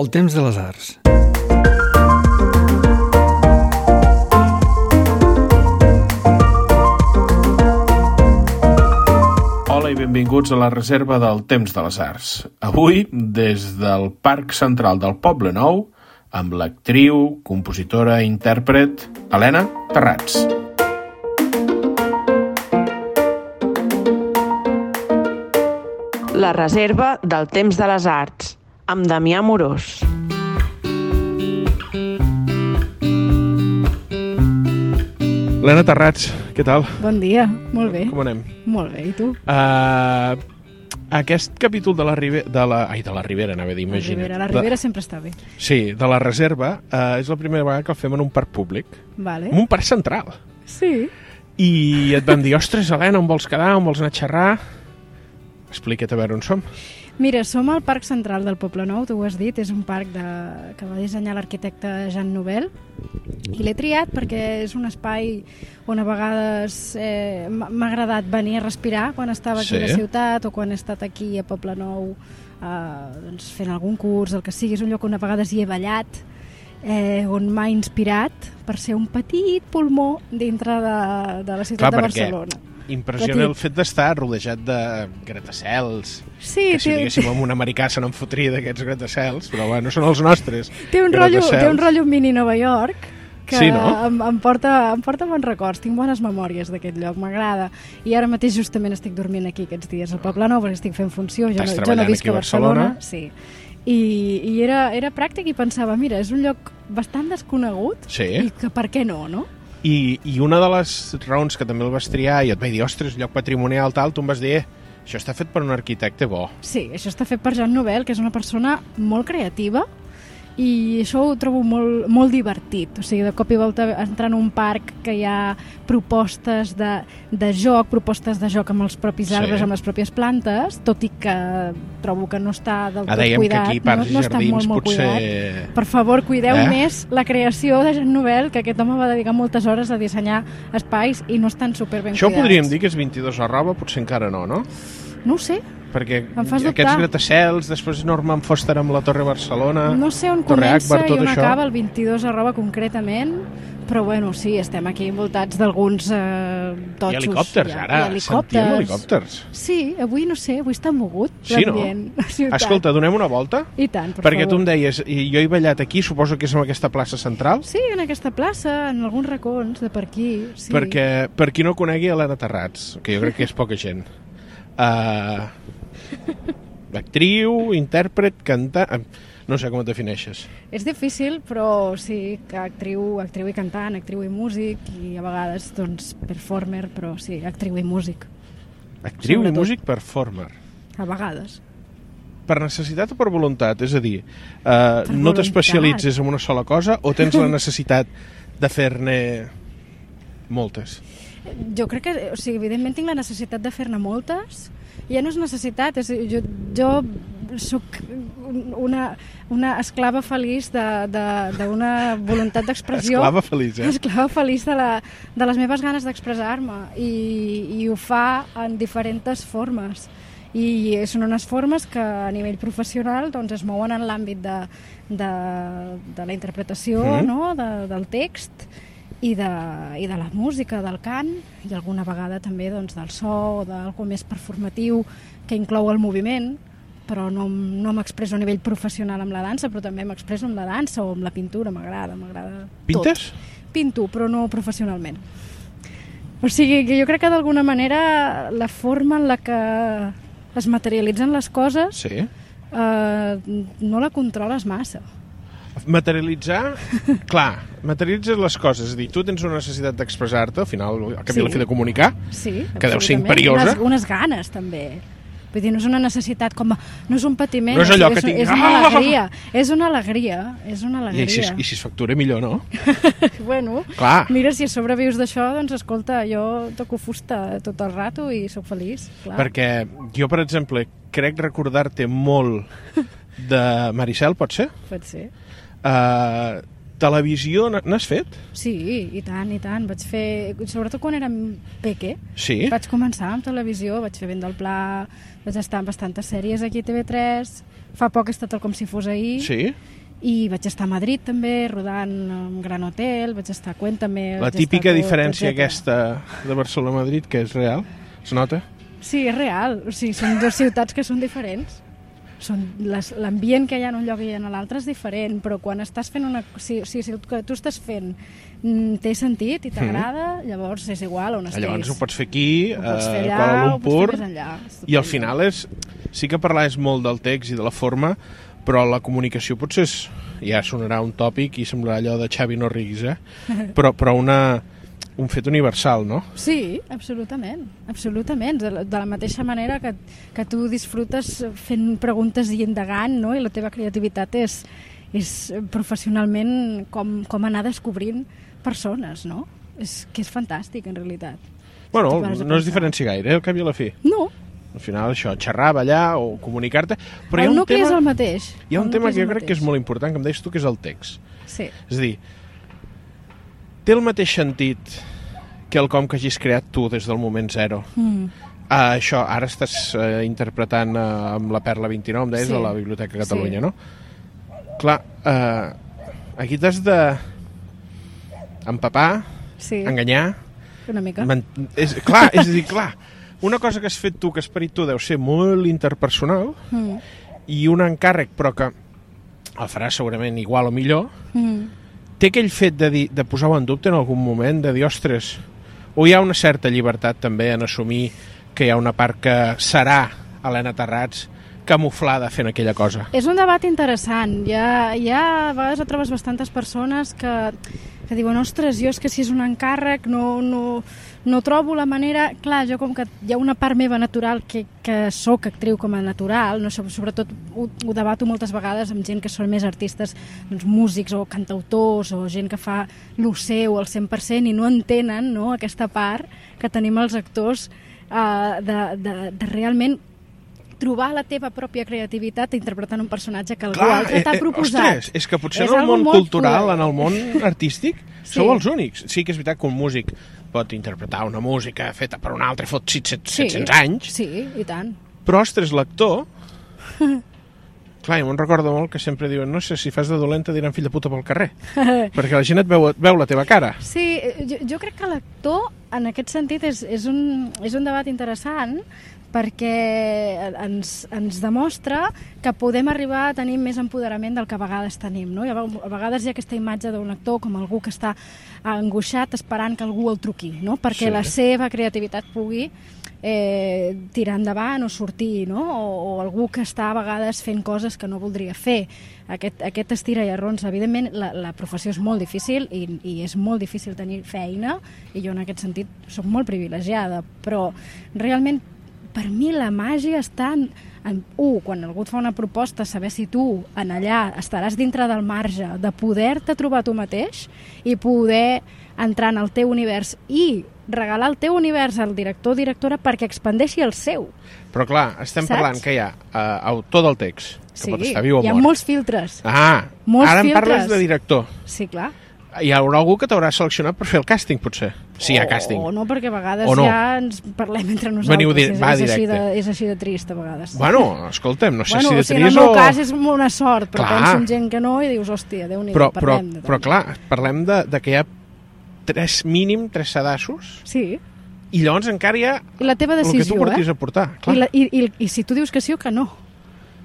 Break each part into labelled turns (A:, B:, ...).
A: El temps de les arts.
B: Hola i benvinguts a la reserva del Temps de les Arts. Avui, des del Parc Central del Poble Nou, amb l'actriu, compositora i intèrpret Helena Terrats.
C: La reserva del temps de les arts, amb Damià Morós.
D: Helena Terrats, què tal?
E: Bon dia, molt bé,
D: Com anem?
E: molt bé, i tu?
D: Uh, aquest capítol de la Ribera... De la, ai, de la Ribera, anava a dir,
E: La
D: imagina't.
E: Ribera, la Ribera sempre està bé,
D: De, sí, de la Reserva. Uh, és la primera vegada que el fem en un parc públic.
E: vale?
D: En un parc central.
E: Sí,
D: I et vam dir, ostres, Helena, on vols quedar? On vols anar a xerrar? Explica't a veure on som.
E: mira, som al Parc Central del Poble Nou, tu ho has dit, és un parc de... que va dissenyar l'arquitecte Jean Nouvel i l'he triat perquè és un espai on a vegades eh, m'ha m'ha agradat venir a respirar quan estava aquí
D: Sí.
E: a la ciutat o quan he estat aquí a Poble Nou eh, doncs fent algun curs, el que sigui, és un lloc on a vegades hi he ballat eh, on m'ha inspirat per ser un petit pulmó dintre de, de la ciutat de
D: perquè
E: Barcelona.
D: impressiona
E: Petit.
D: el fet d'estar rodejat de gratacels.
E: Sí,
D: que si
E: té-
D: diguéssim amb un americà se n'en fotria d'aquests gratacels, però bueno, són els nostres.
E: Té un, rotllo, té un
D: gratacels.
E: rotllo mini Nova York que
D: Sí, no?
E: em, em, porta, em porta bons records, tinc bones memòries d'aquest lloc, m'agrada. I ara mateix justament estic dormint aquí aquests dies al Poble Nou, perquè estic fent funció, jo
D: Estàs
E: no, jo no
D: treballant
E: visc
D: aquí
E: a
D: a
E: Barcelona.
D: Barcelona.
E: Sí. I, i era, era pràctic i pensava, mira, és un lloc bastant desconegut
D: Sí.
E: i que per què no, no?
D: I, I una de les raons que també el vas triar i et vaig dir, ostres, lloc patrimonial tal, tu em vas dir, eh, això està fet per un arquitecte bo.
E: Sí, això està fet per Jean Nouvel, que és una persona molt creativa i això ho trobo molt, molt divertit. O sigui, de cop i volta entrar en un parc que hi ha propostes de, de joc, propostes de joc amb els propis
D: Sí.
E: arbres, amb les pròpies plantes, tot i que trobo que no està del
D: Ah,
E: tot
D: dèiem
E: cuidat.
D: que aquí parcs
E: no, no
D: i
E: està
D: jardins
E: molt, molt
D: potser...
E: Cuidat. Per favor, cuideu
D: Eh?
E: eh? més la creació de Jean Nouvel, que aquest home va dedicar moltes hores a dissenyar espais i no estan superben
D: Això ho
E: cuidats.
D: podríem dir que és 22 arroba, potser encara no, no?
E: No ho sé,
D: Perquè
E: Em fas
D: aquests
E: dubtar.
D: gratacels, després Norman Foster amb la Torre Barcelona...
E: No sé on
D: Torre
E: comença
D: Agbar,
E: i
D: tot
E: on
D: això.
E: acaba el 22 arroba concretament, però bueno, sí, estem aquí envoltats d'alguns eh,
D: Hi ha
E: totxos.
D: helicòpters,
E: Hi ha-
D: ara.
E: Hi ha
D: Sentíem
E: helicòpters.
D: helicòpters.
E: Sí, avui no sé, avui està mogut
D: Sí, no?
E: l'ambient. la ciutat.
D: Escolta, donem una volta?
E: I tant, per
D: perquè
E: favor.
D: tu em deies, i jo he ballat aquí, suposo que és en aquesta plaça central?
E: Sí, en aquesta plaça, en alguns racons de per aquí. Sí.
D: Perquè, per qui no conegui Helena Terrats, que jo crec que és poca gent. Uh, actriu, intèrpret, cantant... No sé com et defineixes.
E: És difícil, però sí que actriu, actriu i cantant, actriu i músic, i a vegades, doncs, performer, però sí, actriu i músic.
D: Actriu
E: Sobretot.
D: i músic performer.
E: A vegades.
D: Per necessitat o per voluntat? És a dir, uh,
E: Per
D: no
E: voluntat.
D: t'especialitzes en una sola cosa o tens la necessitat de fer-ne moltes?
E: Jo crec que, o sigui, evidentment tinc la necessitat de fer-ne moltes, ja no és necessitat, és, a dir, jo, jo sóc un- una, una esclava feliç de- de- d'una voluntat d'expressió.
D: Esclava feliç, eh?
E: Esclava feliç de, la, de les meves ganes d'expressar-me i, i ho fa en diferents formes i són unes formes que a nivell professional doncs, es mouen en l'àmbit de, de, de la interpretació
D: Mhm.
E: mm. no? de, del text i de, i de la música, del cant i alguna vegada també doncs, del so o d'algú més performatiu que inclou el moviment però no, em- no m'expresso a nivell professional amb la dansa, però també m'expresso amb la dansa o amb la pintura, m'agrada, m'agrada tot
D: Pintes?
E: pinto, però no professionalment. O sigui, que jo crec que d'alguna manera la forma en la que es materialitzen les coses
D: Sí.
E: eh, no la controles massa.
D: Materialitzar, clar, materialitzes les coses, és a dir, tu tens una necessitat d'expressar-te, al final, al cap i a la
E: Sí.
D: fi de comunicar,
E: Sí,
D: Que deu ser
E: absolutament.
D: imperiosa.
E: Unes, unes ganes, també. Vull dir, no és una necessitat com... a- No és un patiment,
D: No és
E: o sigui,
D: allò que
E: és, un-
D: tinc-
E: és una
D: Ah!
E: alegria. És una alegria, és una
D: I
E: alegria.
D: si, es- I si es factura millor, no?
E: Bueno,
D: Clar.
E: mira, si sobrevius d'això, doncs escolta, jo toco fusta tot el rato i sóc feliç, clar.
D: Perquè jo, per exemple, crec recordar-te molt de Maricel, pot ser?
E: Pot ser.
D: Uh, Televisió n- n'has fet?
E: Sí, i tant, i tant. Vaig fer, sobretot quan érem peque,
D: Sí.
E: vaig començar amb televisió, vaig fer Vent del Pla, vaig estar en bastantes sèries aquí a TV3, fa poc he estat el Com si fos ahir,
D: Sí.
E: i vaig estar a Madrid també, rodant un gran hotel, vaig estar a Cuéntame...
D: La
E: vaig estar
D: típica
E: a Tot,
D: diferència
E: etcètera.
D: aquesta de Barcelona-Madrid, que és real, es nota?
E: Sí, és real. O sigui, són dues ciutats que són diferents. Són les- L'ambient que hi ha en un lloc i en l'altre és diferent, però quan estàs fent una... Si, si, si el que tu estàs fent mm, té sentit i t'agrada, llavors és igual on estiguis.
D: Ah, Llavors ho pots fer aquí,
E: Ho
D: a
E: pots fer allà,
D: Kuala
E: ho pots fer
D: Lumpur,
E: més enllà.
D: i al final és... Sí que parlar és molt del text i de la forma, però la comunicació potser és, ja sonarà un tòpic i semblarà allò de Xavi no riguis, eh? Però, però una, un fet universal, no?
E: Sí, absolutament, absolutament. De la, de la mateixa manera que, que tu disfrutes fent preguntes i indagant, no? i la teva creativitat és, és professionalment com, com anar descobrint persones, no? És, que és fantàstic, en realitat.
D: Bueno,
E: Tu pares a
D: no es
E: pensar.
D: diferencia gaire, eh, al cap i a la fi.
E: No,
D: Al final això, xerrar, ballar o comunicar-te... Però hi ha un
E: el nucli
D: tema,
E: és el mateix.
D: hi ha un
E: El
D: tema
E: nucli
D: que
E: el
D: jo crec que és
E: mateix.
D: molt important, que em deies tu, que és el text.
E: Sí,
D: És a dir, té el mateix sentit que el com que hagis creat tu des del moment zero.
E: Mm.
D: Ah, això, ara estàs eh, interpretant eh, amb la Perla 29, em deies,
E: Sí.
D: a la Biblioteca de
E: Sí.
D: Catalunya, no? Clar, eh, aquí t'has de empapar,
E: sí,
D: enganyar...
E: una mica.
D: Men és, clar, és a dir, clar, una cosa que has fet tu, que has parit tu, deu ser molt interpersonal
E: Mm.
D: i un encàrrec, però que el faràs segurament igual o millor,
E: Mm.
D: té aquell fet de, dir, de posar-ho en dubte en algun moment, de dir, ostres, o hi ha una certa llibertat també en assumir que hi ha una part que serà Helena Terrats camuflada fent aquella cosa.
E: És un debat interessant. Hi ha, hi ha a vegades et trobes bastantes persones que, que diuen ostres, jo és que si és un encàrrec no, no, no trobo la manera... Clar, jo com que hi ha una part meva natural que, que sóc actriu com a natural, no, Sob- sobretot ho, ho debato moltes vegades amb gent que són més artistes, doncs, músics o cantautors o gent que fa lo seu al 100% i no entenen no, aquesta part que tenim els actors eh, de, de, de realment trobar la teva pròpia creativitat interpretant un personatge que algú altre t'ha
D: eh,
E: proposat.
D: Ostres, és que potser
E: És
D: en el
E: algo
D: món
E: molt
D: cultural,
E: cruel.
D: en el món artístic,
E: Sí.
D: sí. sou els únics. Sí que és veritat que un músic pot interpretar una música feta per un altre fot 700,
E: Sí,
D: 700 anys,
E: Sí, i tant.
D: però, ostres, l'actor... Clar, jo me'n recordo molt que sempre diuen no sé, si fas de dolenta diran fill de puta pel carrer perquè la gent et veu, et veu la teva cara
E: Sí, eh, jo, jo crec que l'actor, en aquest sentit, és, és, un, és un debat interessant perquè ens, ens demostra que podem arribar a tenir més empoderament del que a vegades tenim. No? I a veg- a vegades hi ha aquesta imatge d'un actor com algú que està angoixat esperant que algú el truqui, no? perquè
D: Sí.
E: sí. la seva creativitat pugui eh, tirar endavant o sortir, no? o, o algú que està a vegades fent coses que no voldria fer. Aquest, aquest estira i arrons, evidentment, la, la professió és molt difícil i, i és molt difícil tenir feina, i jo en aquest sentit sóc molt privilegiada, però realment per mi la màgia està en, en un, quan algú et fa una proposta, saber si tu en allà estaràs dintre del marge de poder-te trobar tu mateix i poder entrar en el teu univers i regalar el teu univers al director o directora perquè expandeixi el seu.
D: però clar, estem
E: Saps?
D: Saps? parlant que hi ha uh, autor del text que pot estar viu o
E: hi ha
D: mort
E: molts filtres.
D: ah,
E: molts
D: ara em parles
E: filtres.
D: de director
E: Sí, clar.
D: hi haurà algú que t'haurà seleccionat per fer el càsting potser, si hi ha càsting
E: O Oh, no, perquè a vegades
D: O no.
E: ja ens parlem entre nosaltres.
D: Veniu di-
E: és,
D: va,
E: és, així de,
D: directe.
E: és així de trist, a vegades.
D: bueno, escolta'm, no sé
E: bueno,
D: si de
E: o sigui, en el
D: tries
E: meu
D: o...
E: cas és una sort, però
D: Clar.
E: penso en gent que no i dius, hòstia, Déu-n'hi-do,
D: però,
E: doncs."
D: però,
E: parlem de
D: però clar, parlem de, de que hi ha tres, mínim tres sedassos
E: Sí,
D: i llavors encara hi ha
E: i la teva
D: el que tu
E: decisió,
D: portis
E: eh?
D: a portar
E: I,
D: clar,
E: la, i, i, I si tu dius que sí o que no.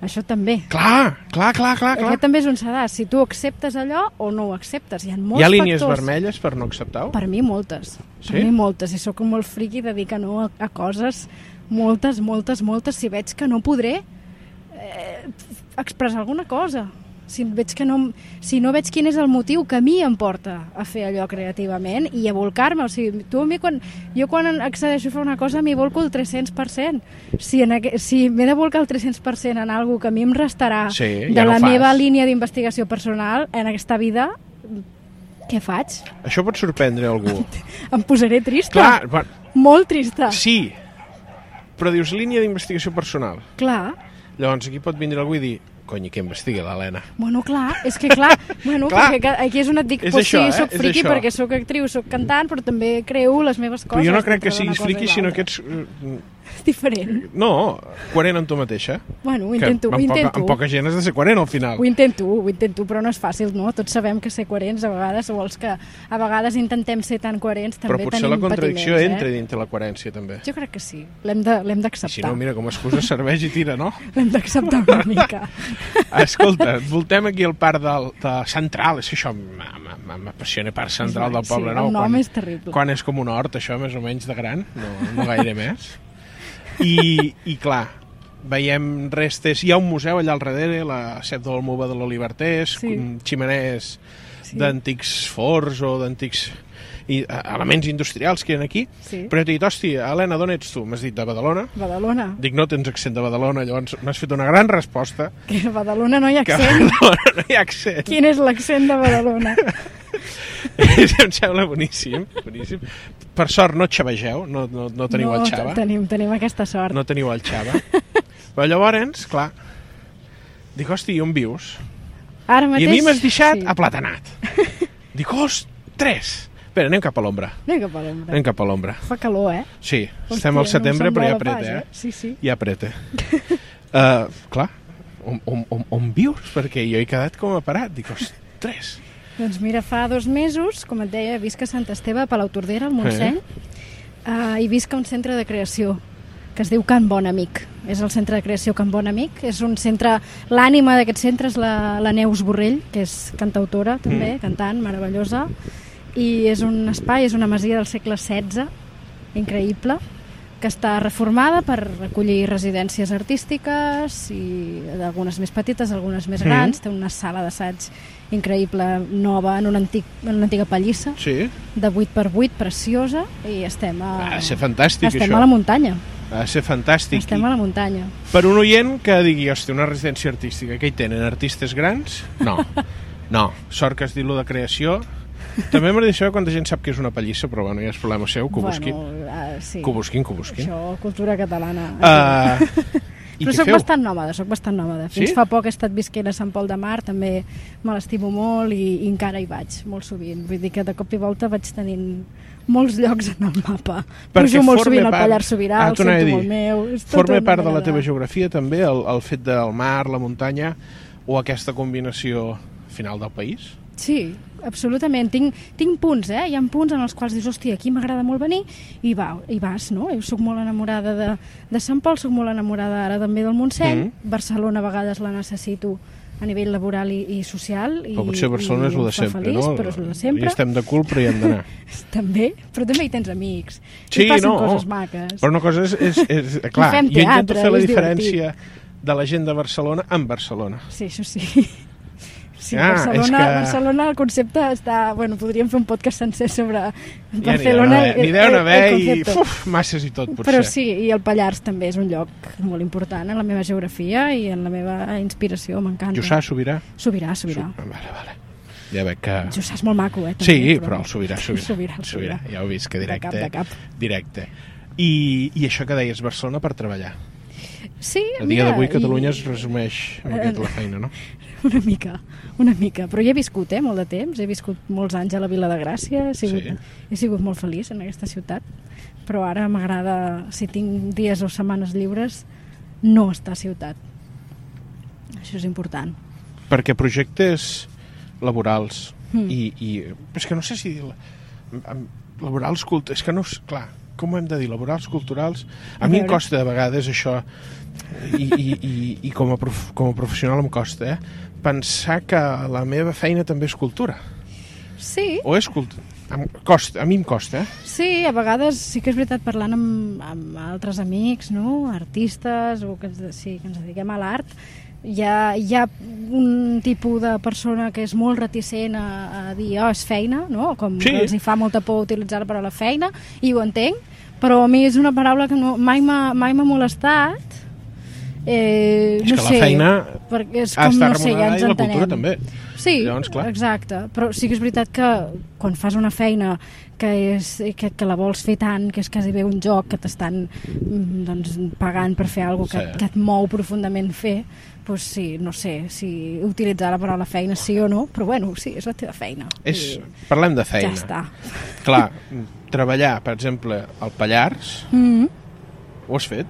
E: Això també.
D: clar, clar, clar, Ah, clar, clar.
E: Aquest també és un sedàs. Si tu acceptes allò o no ho acceptes. Hi ha molts
D: Hi ha línies
E: factors.
D: vermelles per no acceptar-ho?
E: Per mi, moltes. Per
D: Sí?
E: mi, moltes. I sóc molt friqui de dir que no a, a coses, moltes, moltes, moltes. Si veig que no podré eh, expressar alguna cosa, si veig que no, si no veig quin és el motiu que a mi em porta a fer allò creativament i a volcar-me, o sigui, tu a mi quan, jo quan accedeixo a fer una cosa m'hi volco el 300%, si, en aqu... si m'he de volcar el 300% en alguna que a mi em restarà
D: Sí,
E: de
D: ja no
E: la
D: ho fas.
E: meva línia d'investigació personal en aquesta vida, què faig?
D: Això pot sorprendre algú.
E: Em posaré trista.
D: Clar, va,
E: Molt trista.
D: sí, però dius línia d'investigació personal.
E: Clar,
D: Llavors aquí pot vindre algú i dir, Cony, que investigui l'Helena.
E: Bueno, clar, és que clar, bueno,
D: Clar.
E: clar. perquè ca- aquí és on et dic,
D: És
E: pues
D: això, eh?
E: sí, soc
D: És
E: friki
D: això.
E: perquè sóc actriu, sóc cantant, però també creu les meves coses.
D: Però jo no crec que
E: dintre d'una
D: siguis
E: cosa i
D: friki, sinó
E: l'altra.
D: que ets... eh,
E: És diferent.
D: No, coherent amb tu mateixa.
E: Bueno, ho intento,
D: que
E: ho
D: amb poca,
E: intento.
D: Amb poca gent has de ser coherent al final.
E: Ho intento, ho intento, però no és fàcil, no? Tots sabem que ser coherents a vegades, o els que a vegades intentem ser tan coherents,
D: Però
E: també
D: potser la
E: tenim
D: contradicció
E: patiments,
D: entra
E: eh?
D: dintre la coherència, també.
E: Jo crec que sí, l'hem de- l'hem
D: I si no,
E: d'acceptar.
D: mira, com a excusa serveix i tira, no?
E: L'hem d'acceptar una mica.
D: Escolta, voltem aquí al parc del, de Central, és que això m- m- m- m'apassiona, parc Central del
E: Sí,
D: Poble
E: el
D: Nou.
E: nom és terrible.
D: Quan és com un hort, això, més o menys de gran, no, no gaire més. I, I clar, veiem restes, hi ha un museu allà al darrere, la Set de l'Almuba de l'Olivertés,
E: Sí.
D: sí. ximeners
E: Sí.
D: d'antics forts o d'antics i, eh, elements industrials que hi ha aquí.
E: Sí.
D: Però he dit, hòstia, Helena, d'on ets tu? M'has dit de Badalona?
E: Badalona.
D: Dic, no tens accent de Badalona, llavors m'has fet una gran resposta.
E: Que a Badalona no hi ha
D: Que a
E: accent.
D: Badalona no hi ha accent.
E: Quin és l'accent de Badalona?
D: em sembla boníssim, boníssim. Per sort no xavegeu, no, no, no teniu
E: no,
D: el xava.
E: Tenim, tenim aquesta sort.
D: No teniu el xava. Però llavors, clar, dic, hosti, i on vius?
E: Ara mateix...
D: I a mi m'has deixat
E: Sí.
D: sí. aplatanat. Dic, ostres! Espera, anem cap a l'ombra.
E: Anem cap a l'ombra.
D: Anem cap a l'ombra.
E: Fa calor, eh?
D: Sí, estem al
E: no
D: setembre,
E: se'n
D: però ja
E: vola pas,
D: apreta, eh?
E: Sí, sí.
D: Ja apreta. uh, clar, on, on, on, on vius? Perquè jo he quedat com a parat. Dic, ostres!
E: Doncs mira, fa dos mesos, com et deia, visc a Sant Esteve, a Palautordera, al Montseny, eh, i visc a un centre de creació que es diu Can Bon Amic. És el centre de creació Can Bon Amic. És un centre... L'ànima d'aquest centre és la, la Neus Borrell, que és cantautora, també, mm. cantant, meravellosa. I és un espai, és una masia del segle XVI, increïble, que està reformada per recollir residències artístiques i algunes més petites, algunes més grans. Mm. Té una sala d'assaig increïble, nova, en una, antic, en una antiga pallissa,
D: Sí,
E: de 8x8, preciosa, i estem a,
D: ha de ser Ah, fantàstic,
E: Ah. estem
D: això.
E: a la muntanya.
D: Ha de ser fantàstic.
E: Estem a la muntanya.
D: Per un oient que digui, hòstia, una residència artística, què hi tenen, artistes grans? No, no, sort que has dit lo de creació. També m'agradaria saber quanta gent sap que és una pallissa, però bueno, ja és problema seu, que ho busquin.
E: Bueno, uh, sí.
D: Que ho busquin, que ho busquin.
E: Això, cultura catalana.
D: Uh, I
E: Però
D: què
E: sóc
D: feu?
E: bastant nòmada, sóc bastant nòmada. Fins
D: Sí?
E: fa poc he estat visquent a Sant Pol de Mar, també me l'estimo molt i, i encara hi vaig, molt sovint. Vull dir que de cop i volta vaig tenint molts llocs en el mapa. Pujo molt
D: forma
E: sovint al
D: part-
E: Pallars Sobirà,
D: Ah,
E: el
D: t'ho anava a
E: sento
D: dir.
E: molt meu... és tota
D: Forma
E: una
D: part de
E: mena
D: la teva geografia també el, el fet del mar, la muntanya o aquesta combinació final del país?
E: Sí, absolutament. Tinc, tinc punts, eh? Hi ha punts en els quals dius, hòstia, aquí m'agrada molt venir, i, va, i vas, no? Jo sóc molt enamorada de, de Sant Pol, sóc molt enamorada ara també del Montseny.
D: Mhm.
E: Mm. Barcelona a vegades la necessito a nivell laboral i, i social. I,
D: Però potser Barcelona
E: i
D: és el
E: em
D: de
E: fa
D: sempre,
E: feliç,
D: no?
E: Però és el de sempre.
D: Hi estem de cul, però hi hem d'anar.
E: També, però també hi tens amics.
D: Sí,
E: I passen
D: no.
E: coses maques.
D: Però una cosa és... és, és clar,
E: fem
D: jo intento
E: teatre,
D: fer la
E: és
D: diferència de la gent de Barcelona amb Barcelona.
E: Sí, això sí. Sí,
D: Ah,
E: ah,
D: és
E: Barcelona,
D: que-
E: que... Barcelona, el concepte està... Bueno, podríem fer un podcast sencer sobre
D: Ja
E: Barcelona.
D: n'hi deu haver, n'hi
E: el- el- el
D: deu haver eh? i
E: concepte.
D: uf, masses i tot, potser.
E: Però sí, i el Pallars també és un lloc molt important en la meva geografia i en la meva inspiració, m'encanta.
D: Jussà, Sobirà...
E: Sobirà,
D: Su-
E: Sobirà.
D: Ah, Vale, vale. Ja veig que...
E: Jussà és molt maco, eh? També,
D: Sí, però el Sobirà, Sobirà.
E: Sobirà, el
D: Sobirà.
E: Sobirà.
D: Ja ho he vist, que
E: De
D: directe.
E: cap, de cap.
D: Directe. I, I això que deies, Barcelona per treballar.
E: Sí,
D: A dia
E: mira,
D: d'avui
E: i-
D: Catalunya es resumeix amb aquest la feina, no?
E: Una mica, una mica. Però hi he viscut, eh, molt de temps. He viscut molts anys a la Vila de Gràcia. He sigut,
D: Sí.
E: he sigut molt feliç en aquesta ciutat. Però ara m'agrada, si tinc dies o setmanes lliures, no estar a ciutat. Això és important.
D: perquè projectes laborals
E: Hmm.
D: mm. i, i és que no sé si dir la- em- laborals cult és que no és clar com ho hem de dir, laborals, culturals a,
E: A
D: mi em
E: veure.
D: costa de vegades això i, i, i, i com, a prof, com a professional em costa eh? pensar que la meva feina també és cultura
E: Sí,
D: o és cultura em costa, a mi em costa eh?
E: Sí, a vegades sí que és veritat parlant amb, amb altres amics, no? artistes o que ens, de- sí, que ens dediquem a l'art, hi ha, hi ha un tipus de persona que és molt reticent a, a dir oh, és feina, no? com
D: Sí.
E: que els hi fa molta por utilitzar la paraula feina, i ho entenc, però a mi és una paraula que no, mai m'ha mai m'ha molestat
D: És
E: Eh, no
D: que la
E: sé,
D: feina
E: perquè és
D: ha
E: com,
D: d'estar
E: no sé, ja
D: remunerada
E: ens
D: i la
E: entenem.
D: cultura també.
E: Sí,
D: Llavors, clar.
E: exacte, però sí que és veritat que quan fas una feina que, és, que, que la vols fer tant, que és quasi bé un joc, que t'estan mm, doncs, pagant per fer alguna cosa que,
D: Sí.
E: que et mou profundament fer, doncs sí, no sé si utilitzar la paraula feina sí o no, però bueno, sí, és la teva feina.
D: És,
E: I
D: parlem de
E: Ja
D: feina.
E: està.
D: Clar, treballar, per exemple, al Pallars,
E: Mm -hmm.
D: ho has fet?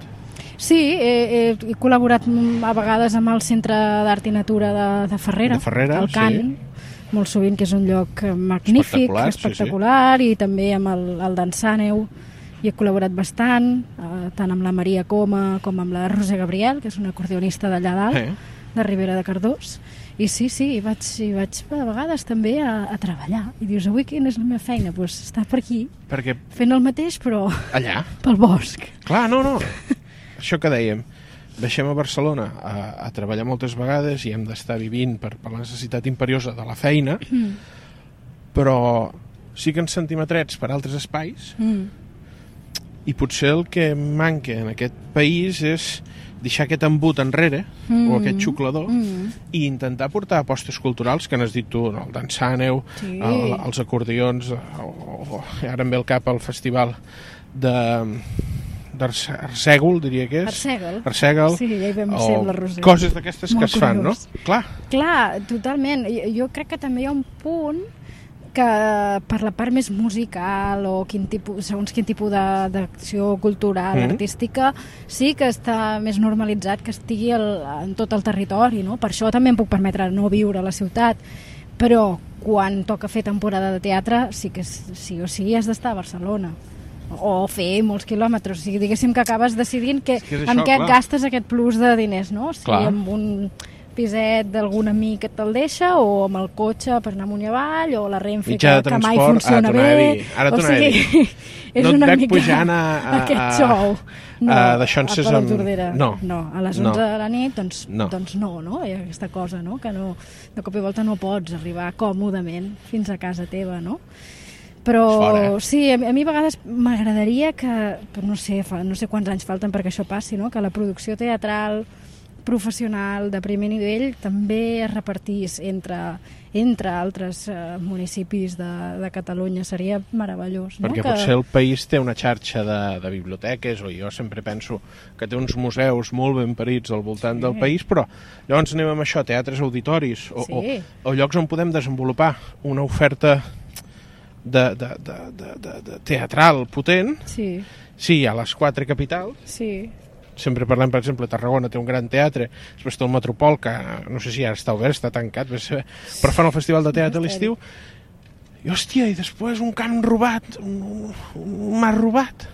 E: Sí, he, he, he col·laborat mm, a vegades amb el Centre d'Art i Natura de, de Ferrera,
D: De Ferrera,
E: el Can, molt sovint, que és un lloc eh, magnífic,
D: Espectacular,
E: espectacular,
D: sí, sí.
E: espectacular i també amb el, el d'Ensaneu hi he col·laborat bastant, eh, tant amb la Maria Coma com amb la Roser Gabriel, que és una acordeonista d'allà dalt,
D: Eh.
E: de Ribera de Cardós, i sí, sí, hi vaig, hi vaig a vegades també a, a treballar, i dius, avui quina és la meva feina? Doncs pues estar per aquí,
D: Perquè
E: fent el mateix, però
D: allà...
E: pel bosc.
D: Clar, no, no. Això que dèiem. Deixem a Barcelona a, a treballar moltes vegades i hem d'estar vivint per, per la necessitat imperiosa de la feina, però sí que ens sentim atrets per altres espais
E: Mm.
D: i potser el que manca en aquest país és deixar aquest embut enrere
E: Mm.
D: o aquest xuclador
E: Mm.
D: i intentar portar apostes culturals que n'has dit tu, no? el d'ençàneu,
E: Sí.
D: el, els acordions, o, o, ara em ve el cap el festival de d'Arsègol, diria que és.
E: Arsèguel.
D: Arsèguel.
E: Sí, ja hi vam ser amb la Roser.
D: o coses d'aquestes que
E: Molt
D: es fan, no?
E: curiós.
D: Clar,
E: Clar, totalment. Jo, jo crec que també hi ha un punt que per la part més musical o quin tipus, segons quin tipus de- d'acció cultural,
D: Mhm.
E: mm. artística, sí que està més normalitzat que estigui el, en tot el territori, no? Per això també em puc permetre no viure a la ciutat, però quan toca fer temporada de teatre sí que s- sí o sí has d'estar a Barcelona o fer molts quilòmetres, o sigui, diguéssim que acabes decidint que,
D: que és
E: en
D: això,
E: què
D: clar.
E: gastes aquest plus de diners, no? Si
D: Clar.
E: amb un piset d'algun amic que te'l deixa o amb el cotxe per anar amunt i avall o la Renfe que,
D: Mitjà de
E: que mai
D: transport,
E: funciona
D: ara
E: bé
D: t'anava a dir, ara
E: o
D: t'anava a
E: sigui, és
D: No et
E: una
D: veig
E: mica
D: pujant a- a- a-
E: aquest xou no,
D: a deixances amb-
E: Palautordera.
D: no.
E: no, a les 11
D: No.
E: de la nit doncs
D: No.
E: no. doncs no, no? Hi ha aquesta cosa no? que no, de cop i volta no pots arribar còmodament fins a casa teva no?
D: És
E: però
D: fort, eh?
E: sí, a, mi- a mi a vegades m'agradaria que, però no sé, fa, no sé quants anys falten perquè això passi, no? que la producció teatral professional de primer nivell també es repartís entre, entre altres eh, municipis de, de Catalunya. Seria meravellós.
D: perquè
E: no? que...
D: potser el país té una xarxa de, de biblioteques, o jo sempre penso que té uns museus molt ben parits al voltant sí. del país, però llavors anem amb això, teatres auditoris, o,
E: Sí.
D: o, o llocs on podem desenvolupar una oferta de, de, de, de, de, de teatral potent,
E: Sí,
D: sí, a les quatre capitals,
E: sí.
D: sempre parlem, per exemple, Tarragona té un gran teatre, després té el Metropol, que no sé si ara està obert, està tancat, vés a saber, però fan el Festival de Teatre a l'estiu, i hòstia, i després un camp robat, un, un, un mar robat.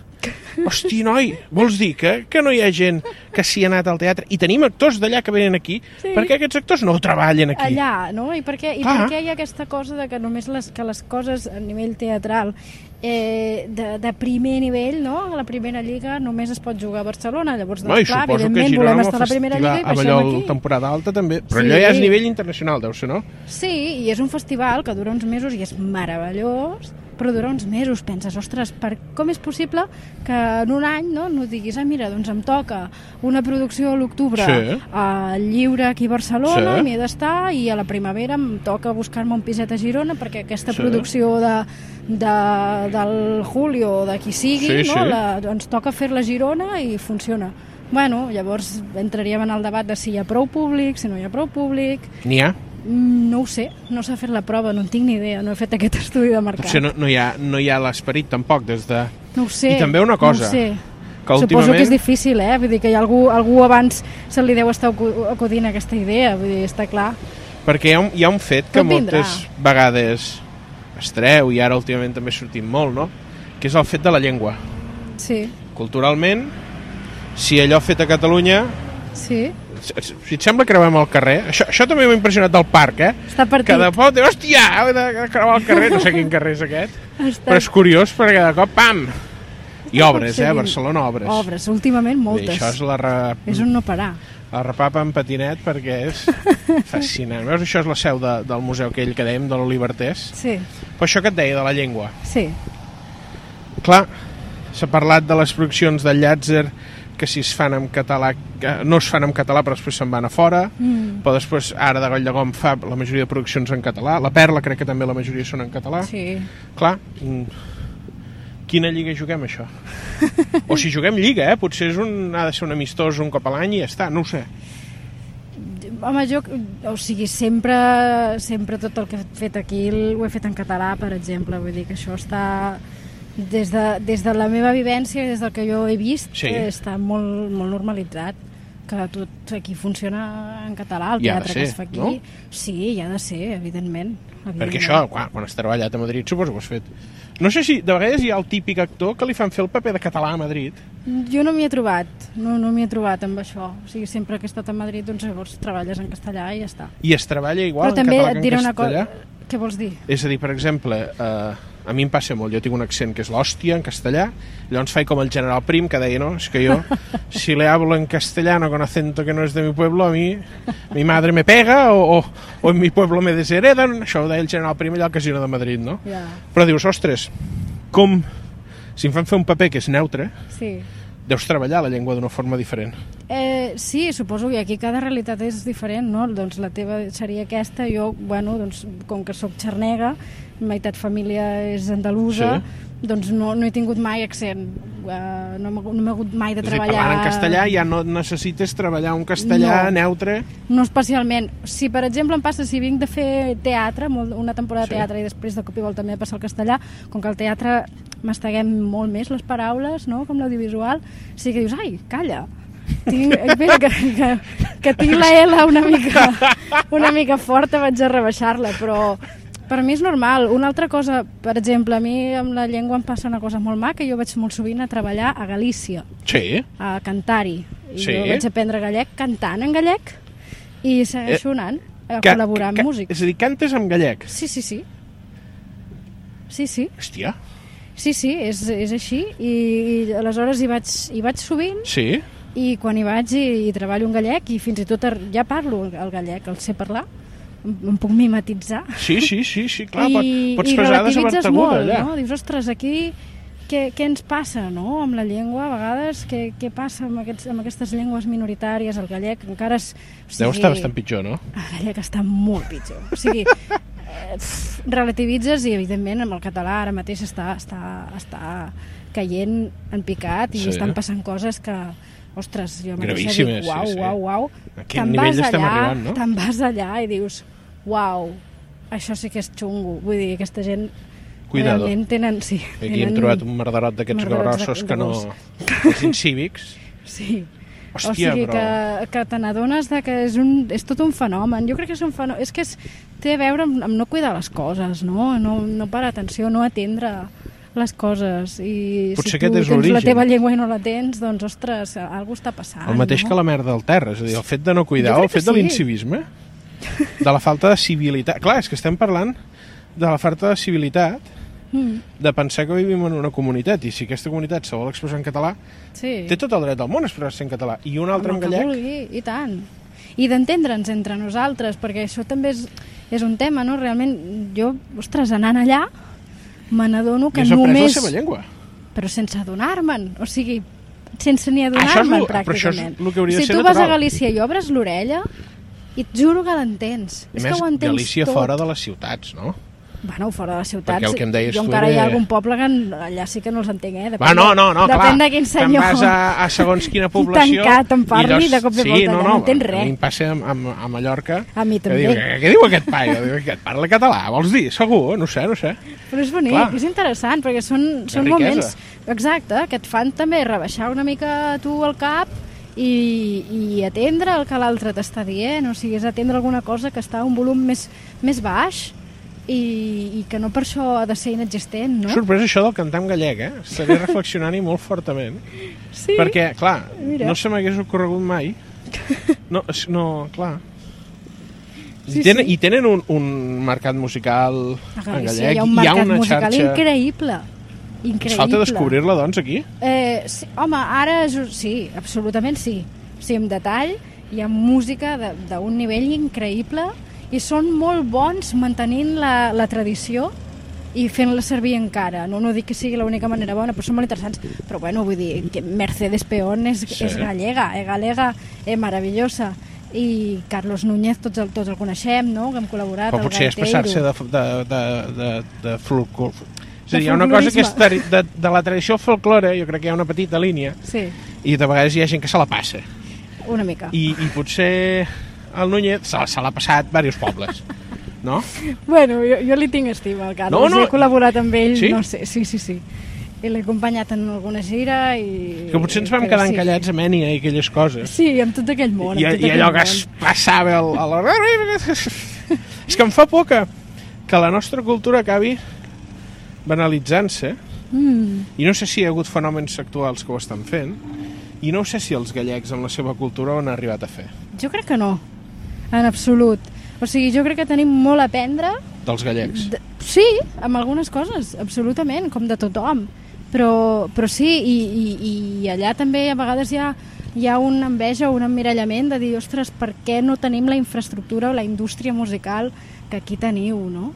D: Hosti, noi, vols dir que, que no hi ha gent que s'hi ha anat al teatre? I tenim actors d'allà que venen aquí, sí. perquè aquests actors no treballen aquí.
E: allà, no? I per què, i
D: Clar.
E: per què hi ha aquesta cosa de que només les, que les coses a nivell teatral eh, de, de primer nivell, no? A la primera lliga només es pot jugar a Barcelona, llavors,
D: No, i
E: doncs, clar,
D: suposo que
E: evidentment
D: Girona
E: volem
D: amb
E: estar a la
D: el
E: primera lliga
D: festival
E: i
D: Avelló
E: baixem aquí.
D: temporada alta també, però
E: Sí.
D: allò ja és nivell internacional, deu ser, no?
E: Sí, i és un festival que dura uns mesos i és meravellós, però dura uns mesos. Penses, ostres, per com és possible que en un any no, no diguis, ah, mira, doncs em toca una producció a l'octubre
D: Sí.
E: a lliure aquí a Barcelona,
D: Sí.
E: m'hi he d'estar, i a la primavera em toca buscar-me un piset a Girona perquè aquesta
D: Sí.
E: producció de, de, del Julio o de qui sigui,
D: Sí,
E: no,
D: sí.
E: La, ens toca fer-la a Girona i funciona. Bueno, llavors entraríem en el debat de si hi ha prou públic, si no hi ha prou públic,
D: N'hi ha.
E: Mm, No ho sé, no s'ha fet la prova, no en tinc ni idea, no he fet aquest estudi de mercat.
D: Potser no, no hi ha, no hi ha l'esperit tampoc des de...
E: no ho sé.
D: I també una cosa,
E: No ho sé.
D: Que
E: Suposo
D: últimament...
E: que és difícil, eh? Vull dir que hi ha algú, algú abans se li deu estar acu- acudint aquesta idea, vull dir, està clar.
D: Perquè hi ha un, hi ha un fet que
E: Tot vindrà.
D: moltes vegades es treu i ara últimament també sortim molt, no? Que és el fet de la llengua.
E: Sí,
D: Culturalment, si allò fet a Catalunya...
E: sí.
D: s- s- Si et sembla creuem el carrer... Això, això també m'ha impressionat del parc, eh?
E: Està partit.
D: Cada pot, hòstia, heu de creuar el carrer, no sé quin carrer és aquest.
E: Està...
D: Però és curiós perquè de cop, pam! I obres, eh? A
E: succeint.
D: Barcelona, obres.
E: Obres, últimament
D: I
E: moltes.
D: això és la, re...
E: és un no parar.
D: La repapa en patinet perquè és fascinant. Veus, això és la seu de, del museu aquell que dèiem, de l'Olivertès.
E: Sí,
D: Però això que et deia de la llengua.
E: sí.
D: Clar, s'ha parlat de les produccions del Llàtzer que si es fan en català, que no es fan en català però després se'n van a fora,
E: Mm.
D: però després ara de Goll de Gom fa la majoria de produccions en català, la Perla crec que també la majoria són en català.
E: Sí.
D: Clar, mm, quina lliga juguem això? o si juguem lliga, eh? Potser és un, ha de ser un amistós un cop a l'any i ja està, no ho sé.
E: Home, jo, o sigui, sempre, sempre tot el que he fet aquí ho he fet en català, per exemple. Vull dir que això està... Des de, des de la meva vivència i des del que jo he vist,
D: Sí.
E: eh, està molt, molt normalitzat que tot aquí funciona en català, el
D: I ha de
E: teatre
D: ser,
E: que es fa aquí.
D: no?
E: Sí, hi ha de ser, evidentment. evidentment.
D: Perquè això, clar, quan has treballat a Madrid, suposo que ho has fet. No sé si, de vegades hi ha el típic actor que li fan fer el paper de català a Madrid.
E: Jo no m'hi he trobat, no, no m'hi he trobat amb això. O sigui, sempre que he estat a Madrid, doncs llavors treballes en castellà i ja està.
D: I es treballa igual
E: Però també
D: en català
E: et
D: que
E: diré
D: en
E: una
D: castellà.
E: cosa... Què vols dir?
D: És a dir, per exemple, eh, a mi em passa molt, jo tinc un accent que és l'hòstia en castellà, llavors faig com el general Prim que deia, no, és que jo, si le hablo en castellano con acento que no es de mi pueblo, a mi, mi madre me pega o, o, o en mi pueblo me desheredan, això ho deia el general Prim allà al casino de Madrid, no?
E: Ja,
D: Però dius, ostres, com... Si em fan fer un paper que és neutre,
E: sí.
D: deus treballar la llengua d'una forma diferent.
E: Eh, sí, suposo que aquí cada realitat és diferent, no? Doncs la teva seria aquesta, jo, bueno, doncs, com que sóc xarnega, meitat família és andalusa, sí. doncs no, no he tingut mai accent, eh, no m'ha- no m'he hagut mai de
D: És a dir,
E: treballar...
D: parlant en castellà ja no necessites treballar un castellà
E: No.
D: neutre.
E: No especialment. Si, per exemple, em passa, si vinc de fer teatre, molt, una temporada de
D: Sí.
E: teatre, i després de cop i volta m'he de passar al castellà, com que el teatre masteguem molt més les paraules, no?, com l'audiovisual, sí que dius, ai, calla, tinc, espera, que, que, que tinc la L una mica, una mica forta, vaig a rebaixar-la, però per mi és normal. Una altra cosa, per exemple, a mi amb la llengua em passa una cosa molt maca, jo vaig molt sovint a treballar a Galícia
D: Sí.
E: a cantar-hi. I
D: Sí.
E: jo vaig aprendre gallec cantant en gallec i segueixo anant a col·laborar amb músics.
D: És a dir, cantes amb gallec.
E: Sí, sí, sí. Sí, sí,
D: Hòstia.
E: sí, sí, és, és així I, i aleshores hi vaig, hi vaig sovint
D: Sí.
E: i quan hi vaig hi, hi treballo en gallec i fins i tot ar- ja parlo el gallec, el sé parlar, em, em puc mimetitzar
D: Sí, sí, sí, sí clar.
E: I,
D: I, pots
E: i
D: pesar de
E: relativitzes
D: aguda,
E: molt,
D: allà.
E: no? Dius, ostres, aquí què, què ens passa, no?, amb la llengua, a vegades, què, què passa amb, aquests, amb aquestes llengües minoritàries, el gallec, encara és... O
D: Deu estar bastant pitjor, no?
E: El gallec està molt pitjor, o sigui, eh, pff, relativitzes i, evidentment, amb el català ara mateix està, està, està caient en picat i
D: Sí.
E: estan passant coses que, ostres, jo mateixa dic,
D: Gravíssimes, sí,
E: uau,
D: sí.
E: uau, uau,
D: A quin
E: te'n
D: nivell
E: vas
D: estem
E: allà,
D: arribant, no?
E: Te'n vas allà i dius, uau, això sí que és xungo. Vull dir, aquesta gent
D: Cuidado.
E: realment tenen... Sí,
D: Aquí hem trobat un merderot d'aquests
E: merderots de-
D: grossos
E: de
D: que no...
E: gos.
D: Els incívics.
E: Sí.
D: Hòstia,
E: o sigui
D: però-
E: que, que te n'adones de que és, un, és tot un fenomen. Jo crec que és un fenomen... És que és, té a veure amb, amb no cuidar les coses, no? No, no parar atenció, no atendre les coses. I
D: Potser
E: si tu
D: aquest és
E: tens la
D: l'origen.
E: teva llengua i no la tens, doncs, ostres, alguna està passant.
D: El mateix
E: no?
D: que la merda del terra, és a dir, el fet de no cuidar,
E: Jo crec
D: el fet
E: que
D: de
E: sí.
D: l'incivisme, de la falta de civilitat. Clar, és que estem parlant de la falta de civilitat,
E: Mm,
D: de pensar que vivim en una comunitat i si aquesta comunitat se vol expressar en català,
E: sí.
D: té tot el dret del món a expressar-se en català. I un altre en
E: Amb el que
D: gallec,
E: Vulgui, I tant. I d'entendre'ns entre nosaltres, perquè això també és, és un tema, no? Realment, jo, ostres, anant allà, me n'adono que
D: que has après la
E: només...
D: seva llengua.
E: Però sense adonar-me'n, o sigui, sense ni
D: Això és
E: adonar-me'n,
D: lo- però això és
E: pràcticament.
D: lo que hauria de
E: si
D: ser
E: tu vas
D: natural.
E: a Galícia i obres l'orella, i et juro que l'entens.
D: A
E: És
D: més,
E: que ho entens
D: Galícia
E: tot.
D: fora de les ciutats, no?
E: Bueno, fora de les ciutats.
D: Perquè el que em deies
E: jo
D: tu
E: encara
D: era-
E: hi ha algun poble que en- allà sí que no els entenc, eh?
D: Va, no, no, no, clar.
E: depèn de quin
D: Te'n
E: senyor.
D: vas a, a segons quina població...
E: Tancat, em
D: i
E: parli, de cop i
D: sí,
E: volta,
D: no,
E: ja
D: no,
E: no entens res.
D: A mi em passa a, a, a Mallorca.
E: A mi
D: Que
E: també.
D: diu, "Eh, què, què diu aquest paio? Diu, que et parla català, vols dir? Segur, no ho sé, no ho sé.
E: Però és bonic,
D: Clar.
E: Clar. és interessant, perquè són, són
D: riquesa.
E: moments... Exacte, que et fan també rebaixar una mica tu el cap i, i atendre el que l'altre t'està dient, o sigui, és atendre alguna cosa que està a un volum més, més baix i, i que no per això ha de ser inexistent, no?
D: Sorprès això del cantar en gallec, eh? Estaré reflexionant-hi molt fortament.
E: sí,
D: Perquè, clar,
E: Mira.
D: no se m'hagués ocorregut mai. No, és- no clar.
E: Sí,
D: I tenen,
E: sí. Ah,
D: I tenen un, un mercat musical
E: a
D: en gallec.
E: Galícia hi ha un mercat musical increïble.
D: Ens
E: Increïble.
D: falta descobrir-la, doncs, aquí.
E: Eh, sí, home, ara jo- sí, absolutament sí. Sí, amb detall, hi ha música de- d'un nivell increïble i són molt bons mantenint la, la tradició i fent-la servir encara. No, no dic que sigui l'única manera bona, però són molt interessants. Però bueno, vull dir, que Mercedes Peón és,
D: Sí.
E: sí. és gallega, eh, galega, eh, meravellosa. I Carlos Núñez, tots el, tots el coneixem, no?, que hem col·laborat.
D: Però
E: el
D: potser és passar-se
E: gaiteiro.
D: de, de, de, de, de folclor... És a dir,
E: De
D: hi ha una cosa que és
E: folclorisme.
D: tari- de, de la tradició folclore, jo crec que hi ha una petita línia,
E: Sí,
D: i de vegades hi ha gent que se la passa.
E: una mica. I...
D: I, i potser el Núñez se, la- se l'ha passat diversos pobles, no?
E: Bueno, jo, jo li tinc estima al Carlos,
D: No, no.
E: he col·laborat amb ell,
D: Sí?
E: no sé, sí, sí, sí. I l'he acompanyat en alguna gira i...
D: Que potser ens vam
E: però
D: quedar encallats a Mènia i aquelles coses.
E: Sí, amb tot aquell món.
D: I,
E: amb tot
D: i allò que
E: aquell món.
D: es passava el, a la... És que em fa por que, que la nostra cultura acabi banalitzant-se
E: Mm.
D: i no sé si hi ha hagut fenòmens actuals que ho estan fent i no sé si els gallecs amb la seva cultura ho han arribat a fer
E: Jo crec que no, en absolut. O sigui, jo crec que tenim molt a aprendre,
D: dels gallecs
E: de... sí, amb algunes coses, absolutament, com de tothom, però, però sí, i, i, i allà també a vegades hi ha, hi ha una enveja o un emmirallament de dir, ostres, per què no tenim la infraestructura o la indústria musical que aquí teniu, no?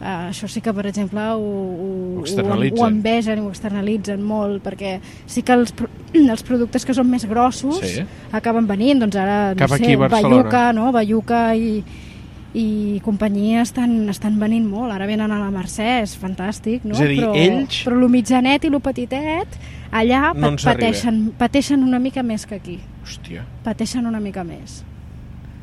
E: Uh, això sí que, per exemple, ho, ho,
D: Ho
E: ho,
D: externalitzen.
E: ho envegen i ho externalitzen molt, perquè sí que els, pro- els productes que són més grossos
D: Sí.
E: acaben venint, doncs ara no
D: Cap
E: sé,
D: aquí a Barcelona.
E: Bayuca, no? Bayuca i, i companyia estan, estan venint molt. Ara venen a la Mercè, és fantàstic, no?
D: És a dir,
E: però,
D: ells-
E: Però el mitjanet i el petitet, allà
D: No
E: no
D: ens
E: pateixen, pateixen una mica més que aquí.
D: hòstia
E: Pateixen una mica més.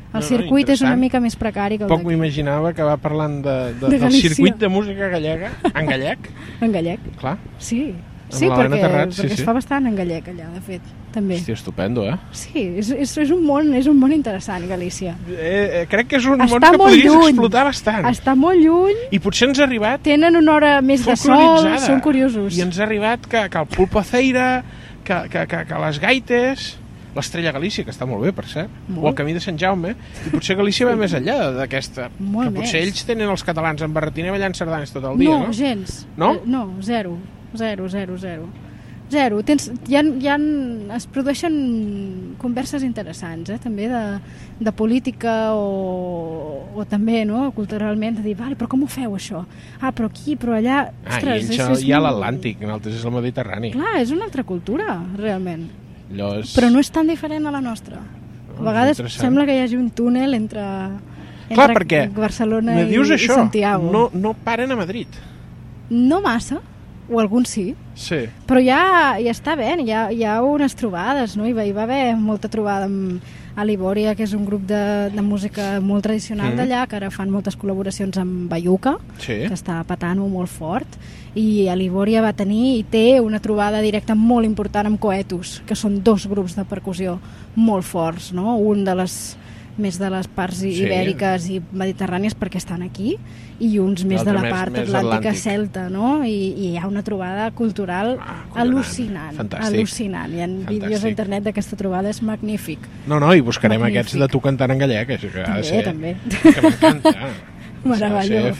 D: No,
E: El
D: no,
E: circuit és una
D: interessant.
E: mica més precari que el
D: poc
E: d'aquí,
D: m'imaginava que va parlant de, de,
E: De
D: del
E: Galícia.
D: circuit de música gallega en gallec
E: en gallec.
D: clar
E: Sí,
D: Amb
E: sí
D: l'Helena
E: perquè,
D: Terrats, sí,
E: perquè
D: sí.
E: es fa bastant en gallec allà, de fet, també.
D: hòstia estupendo eh?
E: Sí, és, és, és, un món, és un món interessant, Galícia.
D: Eh, eh crec que és un
E: Està
D: món que
E: molt
D: podries
E: lluny.
D: explotar bastant
E: Està molt lluny,
D: i potser ens ha arribat
E: tenen una hora més de sol,
D: folkloritzada
E: són curiosos.
D: i ens ha arribat que, que el pulpo aceira que, que, que, que les gaites l'Estrella Galícia, que està molt bé, per cert,
E: Molt.
D: o el Camí de Sant Jaume, i potser Galícia va més enllà d'aquesta.
E: Molt
D: Que potser
E: més.
D: ells tenen els catalans en barretina ballant sardanes tot el dia,
E: No,
D: no?
E: gens.
D: No?
E: Eh, No, zero. Zero, zero, zero. Zero. Tens, hi ha, hi ha, es produeixen converses interessants, eh? també de, de política o, o també no? culturalment, de dir, vale, però com ho feu això? Ah, però aquí, però allà...
D: Ah, i ells
E: és- és
D: hi ha
E: un-
D: l'Atlàntic, en altres és el Mediterrani.
E: Clar, és una altra cultura, realment.
D: Allò és...
E: Però no és tan diferent a la nostra. A vegades
D: Ah, interessant.
E: sembla que hi hagi un túnel entre, entre
D: Clar, perquè
E: Barcelona
D: Me
E: i,
D: dius això,
E: i Santiago.
D: no, no paren a Madrid.
E: no massa, o alguns sí,
D: Sí.
E: Però ja, ja està bé, hi ha, hi ha unes trobades, no? Hi va, hi va haver molta trobada amb Alibòria, que és un grup de, de música molt
D: Mm.
E: tradicional mm. d'allà, que ara fan moltes col·laboracions amb Bayuca,
D: Sí.
E: que està patant-ho molt fort, i Alibòria va tenir i té una trobada directa molt important amb Coetus, que són dos grups de percussió molt forts, no? Un de les més de les parts
D: Sí.
E: ibèriques i mediterrànies perquè estan aquí i uns més de
D: L'altre
E: la
D: més-
E: part
D: més
E: atlàntica
D: atlàntic.
E: celta, no? I, I hi ha una trobada cultural
D: Ah, collonant.
E: al·lucinant,
D: Fantàstic.
E: al·lucinant. Hi ha
D: Fantàstic.
E: vídeos a internet d'aquesta trobada, és magnífic.
D: No, no, i buscarem
E: Magnífic.
D: aquests de tu cantant en gallec, això que ha de
E: També,
D: ser...
E: també.
D: Que m'encanta.
E: Meravellós.
D: Ha de ser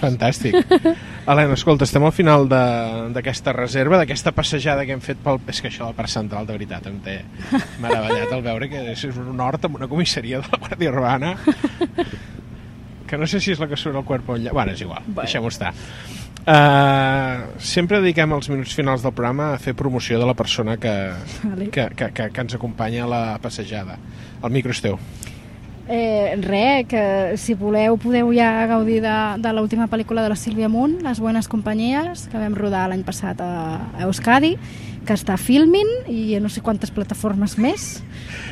D: Fantàstic. Helena, escolta, estem al final de- d'aquesta reserva, d'aquesta passejada que hem fet pel... És que això del Parc Central, de veritat, em té meravellat al veure que és un hort amb una comissaria de la Guàrdia Urbana que no sé si és la que surt al cuerpo allà. Bueno, és igual, bueno. deixem-ho estar. Uh, sempre dediquem els minuts finals del programa a fer promoció de la persona que,
E: Vale.
D: que, que, que, que ens acompanya a la passejada. El micro és teu.
E: Eh, re, que si voleu podeu ja gaudir de, de l'última pel·lícula de la Sílvia Munt, Les Buenes Companyies, que vam rodar l'any passat a, a Euskadi, que està a Filmin i a no sé quantes plataformes més,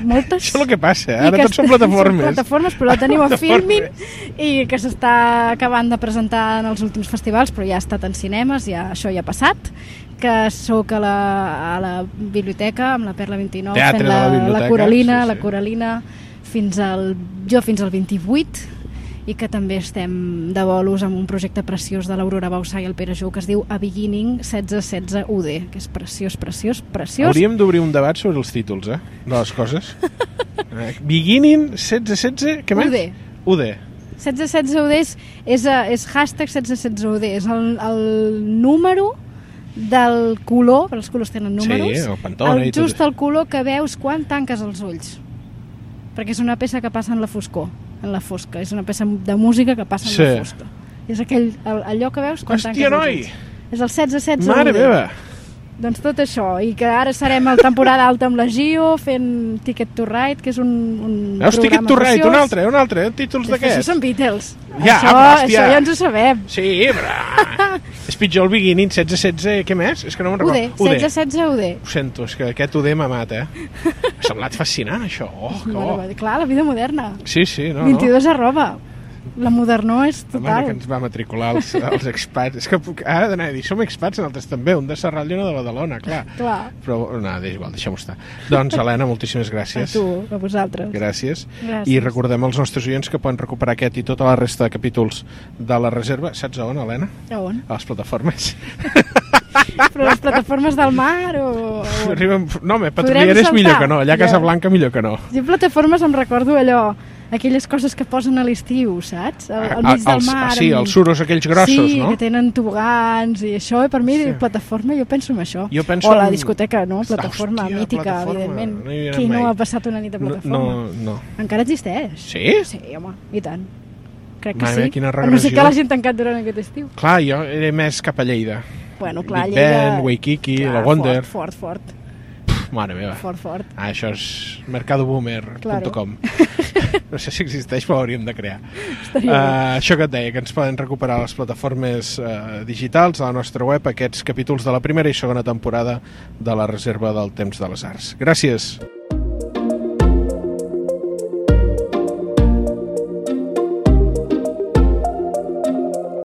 E: moltes.
D: Això és el que passa,
E: I
D: ara
E: que
D: tots són
E: està-
D: plataformes.
E: Són plataformes, però la teniu a Filmin
D: Plataformes.
E: i que s'està acabant de presentar en els últims festivals, però ja ha estat en cinemes, ja, això ja ha passat que sóc a la, a la biblioteca amb la Perla 29
D: Teatre
E: fent
D: de la
E: la,
D: biblioteca,
E: la Coralina,
D: sí, sí.
E: la Coralina fins al, jo fins al 28 i que també estem de bolos amb un projecte preciós de l'Aurora Bausà i el Pere Jou que es diu A Beginning 1616 UD, que és preciós, preciós, preciós.
D: Hauríem d'obrir un debat sobre els títols, eh? De les coses. Eh, Beginning 1616, què més?
E: UD.
D: UD.
E: 1616 UD és, és, eh, és hashtag 1616 UD, és el, el número del color, els colors tenen
D: Sí,
E: números,
D: el Pantone i
E: el,
D: tot
E: just
D: això.
E: el color que veus quan tanques els ulls. Perquè és una peça que passa en la foscor, en la fosca. És una peça de música que passa en
D: Sí.
E: la fosca. És aquell, el, allò que veus quan
D: Hòstia,
E: tanques els
D: noi!
E: ulls. És el 16-16.
D: Mare meva!
E: Doncs tot això, i que ara serem a temporada alta amb la Gio, fent Ticket to Ride, que és un, un
D: Veus, Ticket to Ride, un altre, un altre, eh, títols
E: Això
D: d'aquests.
E: són Beatles.
D: Ja,
E: això,
D: però, hòstia.
E: això ja ens ho sabem.
D: Sí, però... és pitjor el beginning, 16-16, què més? És que no me'n
E: UD,
D: recordo.
E: 16-16 UD.
D: Ho sento, és que aquest UD m'ha amat, eh? M'ha semblat fascinant, això. Oh, que bo.
E: Mare meva, Clar, la vida moderna.
D: Sí, sí, no, no.
E: 22 arroba. La modernor és
D: La mare que
E: total.
D: ens va matricular els, els expats. És que puc, ara d'anar a dir, som expats nosaltres també, un de Serrall i una de Badalona, clar.
E: Clar,
D: Però, no, és igual, deixem-ho estar. Doncs, Helena, moltíssimes
E: a
D: gràcies.
E: tu, a vosaltres.
D: Gràcies.
E: Gràcies.
D: I recordem als nostres oients que poden recuperar aquest i tota la resta de capítols de la reserva. Saps on, Helena?
E: A on?
D: A les plataformes.
E: Però les plataformes del mar o... o on?
D: Arribem... No, home,
E: Podrem
D: Patrulleres
E: saltar.
D: millor que no. Allà a
E: Ja.
D: Casablanca millor que no.
E: Jo plataformes em recordo allò, aquelles coses que posen a l'estiu, saps? Al, al mig
D: Ah,
E: del
D: els-
E: mar.
D: ah, sí,
E: amb-
D: els suros aquells grossos,
E: sí,
D: no?
E: que tenen tobogans i això, i per mi sí. plataforma, jo penso en això.
D: Jo penso
E: o la
D: en-
E: discoteca, no? Plataforma
D: Hòstia,
E: mítica,
D: plataforma.
E: evidentment.
D: No hi havia anat
E: Qui no
D: mai.
E: ha passat una nit a
D: No,
E: plataforma?
D: no, no.
E: Encara existeix.
D: Sí?
E: Sí, home, i tant. Crec que
D: Mare
E: sí.
D: meva, quina
E: A no sé
D: regressió.
E: que l'hagin tancat durant aquest estiu.
D: Clar, jo era més cap a Lleida.
E: Bueno, clar,
D: Big
E: Lleida...
D: Ben, Waikiki,
E: clar,
D: la Wonder...
E: Fort, fort, fort,
D: Pf, Mare meva.
E: fort, fort.
D: Ah, això és mercadoboomer.com No sé si existeix, però ho hauríem de crear.
E: Estaria bé.
D: Uh, això que et deia, que ens poden recuperar a les plataformes uh, digitals, a la nostra web, aquests capítols de la primera i segona temporada de la Reserva del Temps de les Arts. Gràcies!